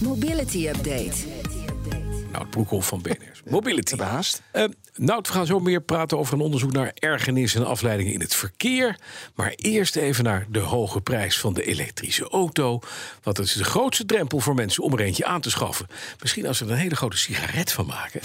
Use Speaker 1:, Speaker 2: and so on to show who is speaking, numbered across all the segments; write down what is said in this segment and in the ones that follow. Speaker 1: Mobility Update.
Speaker 2: Nout Broekhoff Nou, van BNR's Mobility.
Speaker 3: Haast.
Speaker 2: Eh Nout, we gaan zo meer praten over een onderzoek naar ergernis en afleidingen in het verkeer. Maar eerst even naar de hoge prijs van de elektrische auto. Want dat is de grootste drempel voor mensen om er eentje aan te schaffen. Misschien als ze er een hele grote sigaret van maken.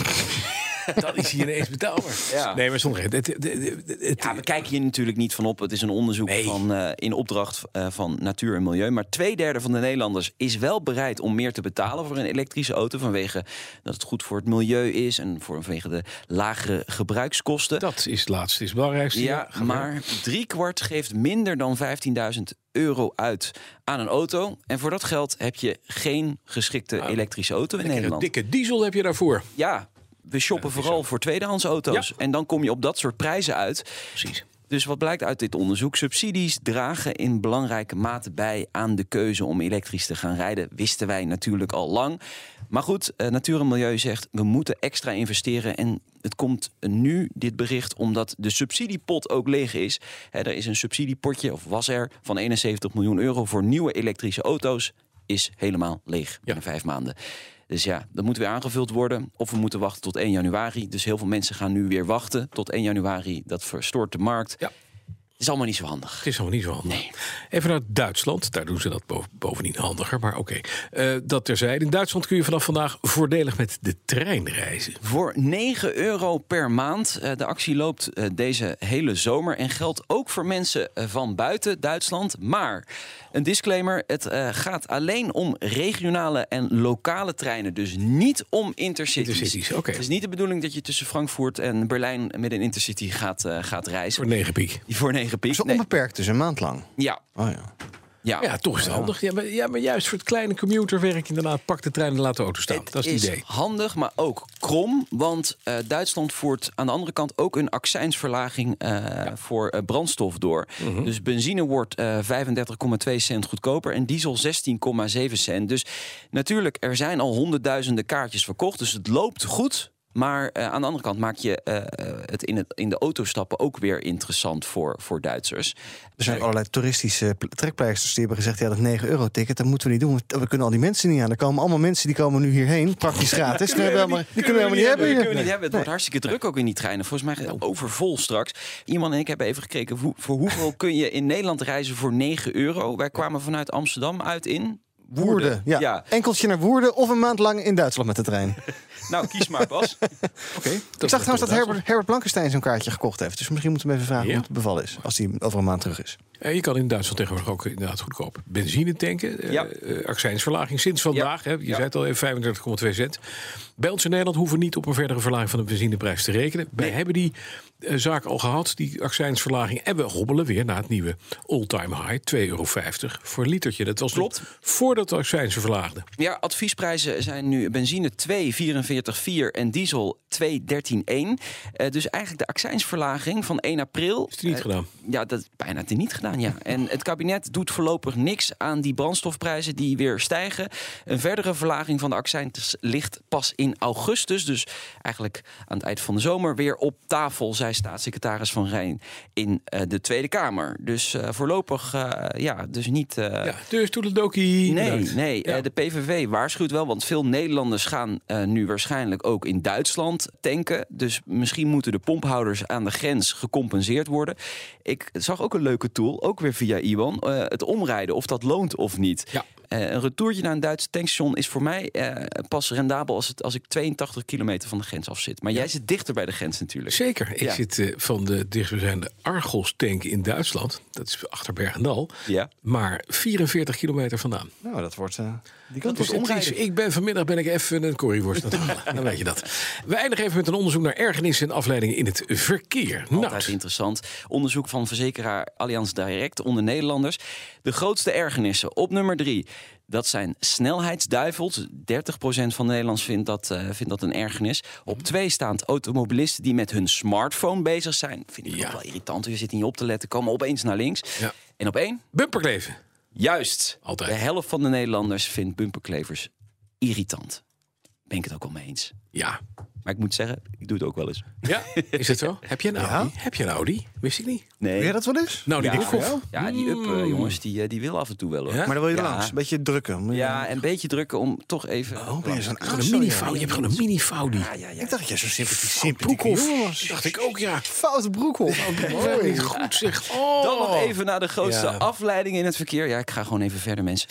Speaker 2: Dan is hij ineens betaalbaar.
Speaker 3: Ja.
Speaker 2: Nee, maar zonder. Het, het, het- het- het-
Speaker 3: Ja, we kijken hier natuurlijk niet van op. Het is een onderzoek
Speaker 2: Nee.
Speaker 3: van, eh, in opdracht eh, van Natuur en Milieu. Maar twee derde van de Nederlanders is wel bereid om meer te betalen voor een elektrische auto. Vanwege dat het goed voor het milieu is en voor, vanwege de lagere gebruikskosten.
Speaker 2: dat is het laatste, is het belangrijkste.
Speaker 3: Ja,
Speaker 2: ga
Speaker 3: maar driekwart geeft minder dan 15.000 euro uit aan een auto. En voor dat geld heb je geen geschikte
Speaker 2: Nou,
Speaker 3: elektrische auto in
Speaker 2: Een
Speaker 3: Nederland.
Speaker 2: dikke diesel heb je daarvoor.
Speaker 3: Ja, we shoppen vooral voor tweedehands auto's.
Speaker 2: Ja.
Speaker 3: En dan kom je op dat soort prijzen uit.
Speaker 2: Precies.
Speaker 3: Dus wat blijkt uit dit onderzoek? Subsidies dragen in belangrijke mate bij aan de keuze om elektrisch te gaan rijden. Wisten wij natuurlijk al lang. Maar goed, eh, Natuur en Milieu zegt we moeten extra investeren. En het komt nu, dit bericht, omdat de subsidiepot ook leeg is. Hè, er is een subsidiepotje, of was er, van 71 miljoen euro voor nieuwe elektrische auto's. Is helemaal leeg binnen vijf maanden. Dus ja, dat moet weer aangevuld worden. Of we moeten wachten tot 1 januari. Dus heel veel mensen gaan nu weer wachten tot 1 januari. Dat verstoort de markt.
Speaker 2: Ja.
Speaker 3: Het is allemaal niet zo handig.
Speaker 2: Het is allemaal niet zo handig. Even naar Duitsland. Daar doen ze dat bo- bovendien handiger, maar oké. Eh, dat terzijde. In Duitsland kun je vanaf vandaag voordelig met de trein reizen.
Speaker 3: Voor 9 euro per maand. Eh, De actie loopt eh, deze hele zomer en geldt ook voor mensen eh, van buiten Duitsland. Maar een disclaimer: het eh, gaat alleen om regionale en lokale treinen, dus niet om intercities.
Speaker 2: Intercities, oké.
Speaker 3: Het is niet de bedoeling dat je tussen Frankfurt en Berlijn met een intercity gaat, eh, gaat reizen.
Speaker 2: Voor 9 piek.
Speaker 3: Voor 9 piek.
Speaker 4: Zo
Speaker 3: Nee.
Speaker 4: onbeperkt, dus een maand lang.
Speaker 3: Ja,
Speaker 4: Oh ja.
Speaker 3: ja.
Speaker 2: Ja, toch is het handig. Ja maar, ja, maar juist voor het kleine commuterwerk inderdaad. Pak de trein en laat de auto staan.
Speaker 3: Het
Speaker 2: dat is het idee.
Speaker 3: handig, maar ook krom. Want eh, Duitsland voert aan de andere kant ook een accijnsverlaging eh, voor eh, brandstof door.
Speaker 2: Mhm.
Speaker 3: Dus benzine wordt eh, 35,2 cent goedkoper en diesel 16,7 cent. Dus natuurlijk, er zijn al honderdduizenden kaartjes verkocht. Dus het loopt goed. Maar eh, aan de andere kant maak je eh, eh, het, in het in de auto stappen ook weer interessant voor, voor Duitsers.
Speaker 4: Er zijn allerlei toeristische pl- trekpleisters die hebben gezegd... ja, dat 9-euro-ticket, dat moeten we niet doen. want We kunnen al die mensen niet aan. Er komen allemaal mensen die komen nu hierheen, praktisch gratis. Die kunnen we helemaal die kunnen we helemaal niet hebben
Speaker 3: kunnen we
Speaker 4: hier.
Speaker 3: niet hebben. Het wordt hartstikke druk ook in die treinen. Volgens mij gaat het overvol straks. Iemand en ik hebben even gekeken hoe, voor hoeveel kun je in Nederland reizen voor 9 euro. Wij kwamen vanuit Amsterdam uit in.
Speaker 4: Woerden, ja.
Speaker 3: Ja.
Speaker 4: Enkeltje naar Woerden of een maand lang in Duitsland met de trein.
Speaker 3: Nou, kies maar Bas.
Speaker 4: Ik zag trouwens dat Herbert, Herbert Blankenstein zo'n kaartje gekocht heeft. Dus misschien moeten we hem even vragen
Speaker 2: Ja.
Speaker 4: hoe het bevallen is. Als hij over een maand terug is.
Speaker 2: Eh, Je kan in Duitsland tegenwoordig ook inderdaad goedkoop benzine tanken. eh,
Speaker 3: Ja.
Speaker 2: eh, accijnsverlaging sinds vandaag. Hè, je zei het al even, 35,2 cent. Bij ons in Nederland hoeven we niet op een verdere verlaging van de benzineprijs te rekenen. Wij hebben die eh, zaak al gehad, die accijnsverlaging. En we hobbelen weer naar het nieuwe all-time high, 2,50 euro voor een litertje. Dat was
Speaker 3: Klopt.
Speaker 2: nog voordat de accijnsen verlaagden.
Speaker 3: Ja, adviesprijzen zijn nu benzine 2,44,4 en diesel 2,13,1. Eh, dus eigenlijk de accijnsverlaging van 1 april.
Speaker 2: Is het niet
Speaker 3: eh,
Speaker 2: gedaan?
Speaker 3: Ja, dat is bijna te niet gedaan, ja. En het kabinet doet voorlopig niks aan die brandstofprijzen die weer stijgen. Een verdere verlaging van de accijns ligt pas in augustus. Dus eigenlijk aan het eind van de zomer weer op tafel, zei staatssecretaris Van Rijn in eh, de Tweede Kamer. Dus eh, voorlopig, eh, ja, dus niet... eh,
Speaker 2: ja, dus toedeledokie.
Speaker 3: Nee,
Speaker 2: bedankt.
Speaker 3: nee.
Speaker 2: Ja.
Speaker 3: eh, de PVV waarschuwt wel, want veel Nederlanders gaan eh, nu waarschijnlijk ook in Duitsland tanken. Dus misschien moeten de pomphouders aan de grens gecompenseerd worden. Ik zag ook een leuke tool, ook weer via Iwan, eh, het omrijden, of dat loont of niet.
Speaker 2: Ja.
Speaker 3: Eh, een retourtje naar een Duits tankstation is voor mij eh, pas rendabel als, het, als ik 82 kilometer van de grens af zit. Maar jij zit dichter bij de grens natuurlijk.
Speaker 2: Zeker. Ik
Speaker 3: Ja.
Speaker 2: zit eh, van de dichtstbijzijnde Argos-tank in Duitsland. Dat is achter Bergendal.
Speaker 3: Ja.
Speaker 2: Maar 44 kilometer vandaan.
Speaker 4: Nou, dat wordt... eh, die
Speaker 3: Dat
Speaker 4: kant
Speaker 3: is
Speaker 4: op.
Speaker 2: Het is,
Speaker 3: omrijden.
Speaker 2: ik ben vanmiddag ben ik even een curryworst aan het halen. Dan weet je dat. We eindigen even met een onderzoek naar ergernis en afleidingen in het verkeer. Nou,
Speaker 3: Altijd interessant. Onderzoek van verzekeraar Allianz Direct onder Nederlanders. De grootste ergernissen op nummer drie. Dat zijn snelheidsduivels. 30% van de Nederlands vindt dat, eh, vindt dat een ergernis. Op twee staand automobilisten die met hun smartphone bezig zijn. Vind ik
Speaker 2: Ja.
Speaker 3: ook wel irritant. Je zit niet op te letten, komen opeens naar links.
Speaker 2: Ja.
Speaker 3: En op één,
Speaker 2: bumperkleven.
Speaker 3: juist.
Speaker 2: Altijd.
Speaker 3: De helft van de Nederlanders vindt bumperklevers irritant. ben ik het ook wel mee eens.
Speaker 2: Ja.
Speaker 3: Maar ik moet zeggen, ik doe het ook wel eens.
Speaker 2: Ja, is het zo? Heb je een Audi? Heb je een Audi? Wist ik niet.
Speaker 3: Nee.
Speaker 4: Wil je dat wel eens?
Speaker 2: Nou, die
Speaker 3: ja,
Speaker 2: Dikhoff.
Speaker 3: ja, die up, eh, jongens, die, eh, die wil af en toe wel hoor.
Speaker 2: Ja?
Speaker 4: Maar dan wil je er
Speaker 3: Ja.
Speaker 4: langs. Een beetje drukken. Moet je-
Speaker 3: Ja, een beetje drukken om toch even...
Speaker 4: Oh, ben je zo'n
Speaker 2: Gewoon
Speaker 4: aas,
Speaker 2: een
Speaker 4: joh,
Speaker 2: mini
Speaker 4: joh.
Speaker 2: Je hebt gewoon een mini Faudi.
Speaker 3: Ja, ja, ja.
Speaker 4: Ik dacht dat jij zo sympathiek sympathiek jongen was.
Speaker 2: Broekhoff. Dacht ik ook, ja.
Speaker 4: Foute broekhof.
Speaker 2: Oh, niet goed zeg. Oh.
Speaker 3: Dan nog even naar de grootste
Speaker 4: Ja.
Speaker 3: afleiding in het verkeer. Ja, ik ga gewoon even verder, mensen.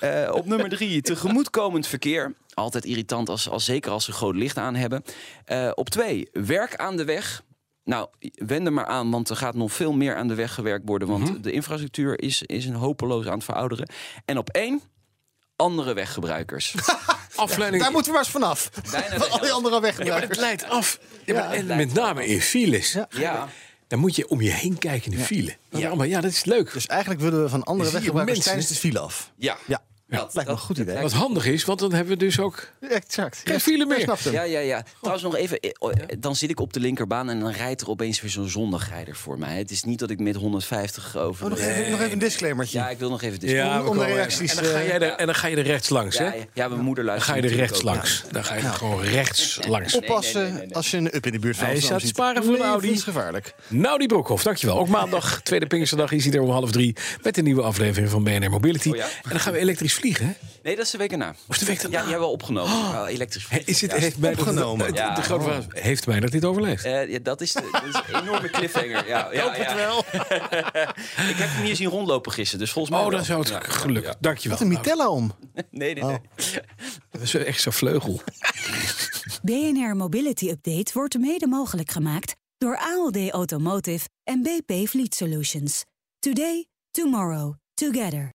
Speaker 3: Eh, op nummer drie, tegemoetkomend verkeer. Altijd irritant, als, als, zeker als ze groot licht aan hebben. Eh, op twee, werk aan de weg. Nou, wend er maar aan, want er gaat nog veel meer aan de weg gewerkt worden. Want
Speaker 4: Mhm.
Speaker 3: de infrastructuur is, is een hopeloos aan het verouderen. En op één, andere weggebruikers.
Speaker 2: Afleiding.
Speaker 4: Daar moeten we maar eens vanaf.
Speaker 3: Bijna
Speaker 4: Van al die anderen
Speaker 2: Ja, maar het
Speaker 4: weggebruikers.
Speaker 2: leidt af. Ja, maar- en met name in files.
Speaker 3: ja.
Speaker 2: Dan moet je om je heen kijken in de file. Ja, maar ja, dat is leuk.
Speaker 4: Dus eigenlijk willen we van andere
Speaker 2: Zie je
Speaker 4: weggebruikers
Speaker 2: mensen?
Speaker 4: tijdens de file af.
Speaker 3: Ja.
Speaker 4: Ja, lijkt me een goed idee.
Speaker 2: Wat handig is, want dan hebben we dus ook...
Speaker 4: Exact.
Speaker 2: Geen file meer.
Speaker 4: Ik snap hem.
Speaker 3: Ja, ja, ja. Trouwens nog even, eh, oh, eh, dan zit ik op de linkerbaan en dan rijdt er opeens weer zo'n zondigrijder voor mij. Het is niet dat ik met 150 over...
Speaker 4: Oh, nog,
Speaker 3: de-
Speaker 4: even, nog even een disclaimertje.
Speaker 3: Ja, ik wil nog even discussiëren.
Speaker 4: om-
Speaker 2: we
Speaker 4: om de
Speaker 2: komen-
Speaker 4: reacties,
Speaker 2: En dan ga
Speaker 4: eh,
Speaker 2: jij er, en dan ga je er rechts langs, hè?
Speaker 3: Ja, ja, ja, mijn moeder
Speaker 2: Dan
Speaker 3: luistert.
Speaker 2: ga je er
Speaker 3: natuurlijk
Speaker 2: rechts
Speaker 3: ook.
Speaker 2: langs. Dan ga je er gewoon rechts langs.
Speaker 4: Oppassen
Speaker 3: Nee, nee, nee, nee.
Speaker 4: als je een up in de buurt van
Speaker 2: Hij
Speaker 4: Amsterdam
Speaker 2: staat
Speaker 4: ziet.
Speaker 2: sparen voor een Audi.
Speaker 4: Levensgevaarlijk.
Speaker 2: Nou, die Broekhoff, dankjewel. Ook maandag, tweede Pinksterdag, is hij er om half drie... met een nieuwe aflevering van BNR Mobility.
Speaker 3: Oh ja?
Speaker 2: En dan gaan we elektrisch vliegen, hè?
Speaker 3: Nee, dat is de week erna.
Speaker 2: Of de week daarna.
Speaker 3: Ja, die hebben we opgenomen. Oh, elektrisch.
Speaker 2: Hè, Is het, heeft mij dat-
Speaker 4: opgenomen.
Speaker 2: de- de-
Speaker 3: Ja.
Speaker 2: de grote vraag is, heeft mij dat dit overleefd?
Speaker 3: Eh, ja, dat is, de, dat is een enorme cliffhanger. Ja, ja, ja. Ik heb hem hier zien rondlopen gisteren, dus volgens mij.
Speaker 2: Oh,
Speaker 3: wel.
Speaker 2: dan zou het
Speaker 3: Ja.
Speaker 2: gelukt. Dankjewel. Nou,
Speaker 4: Wat een Mitella om.
Speaker 3: Nee, nee, nee.
Speaker 2: Oh. Dat is echt zo'n vleugel.
Speaker 1: BNR Mobility Update wordt mede mogelijk gemaakt door ALD Automotive en BP Fleet Solutions. Today, tomorrow, together.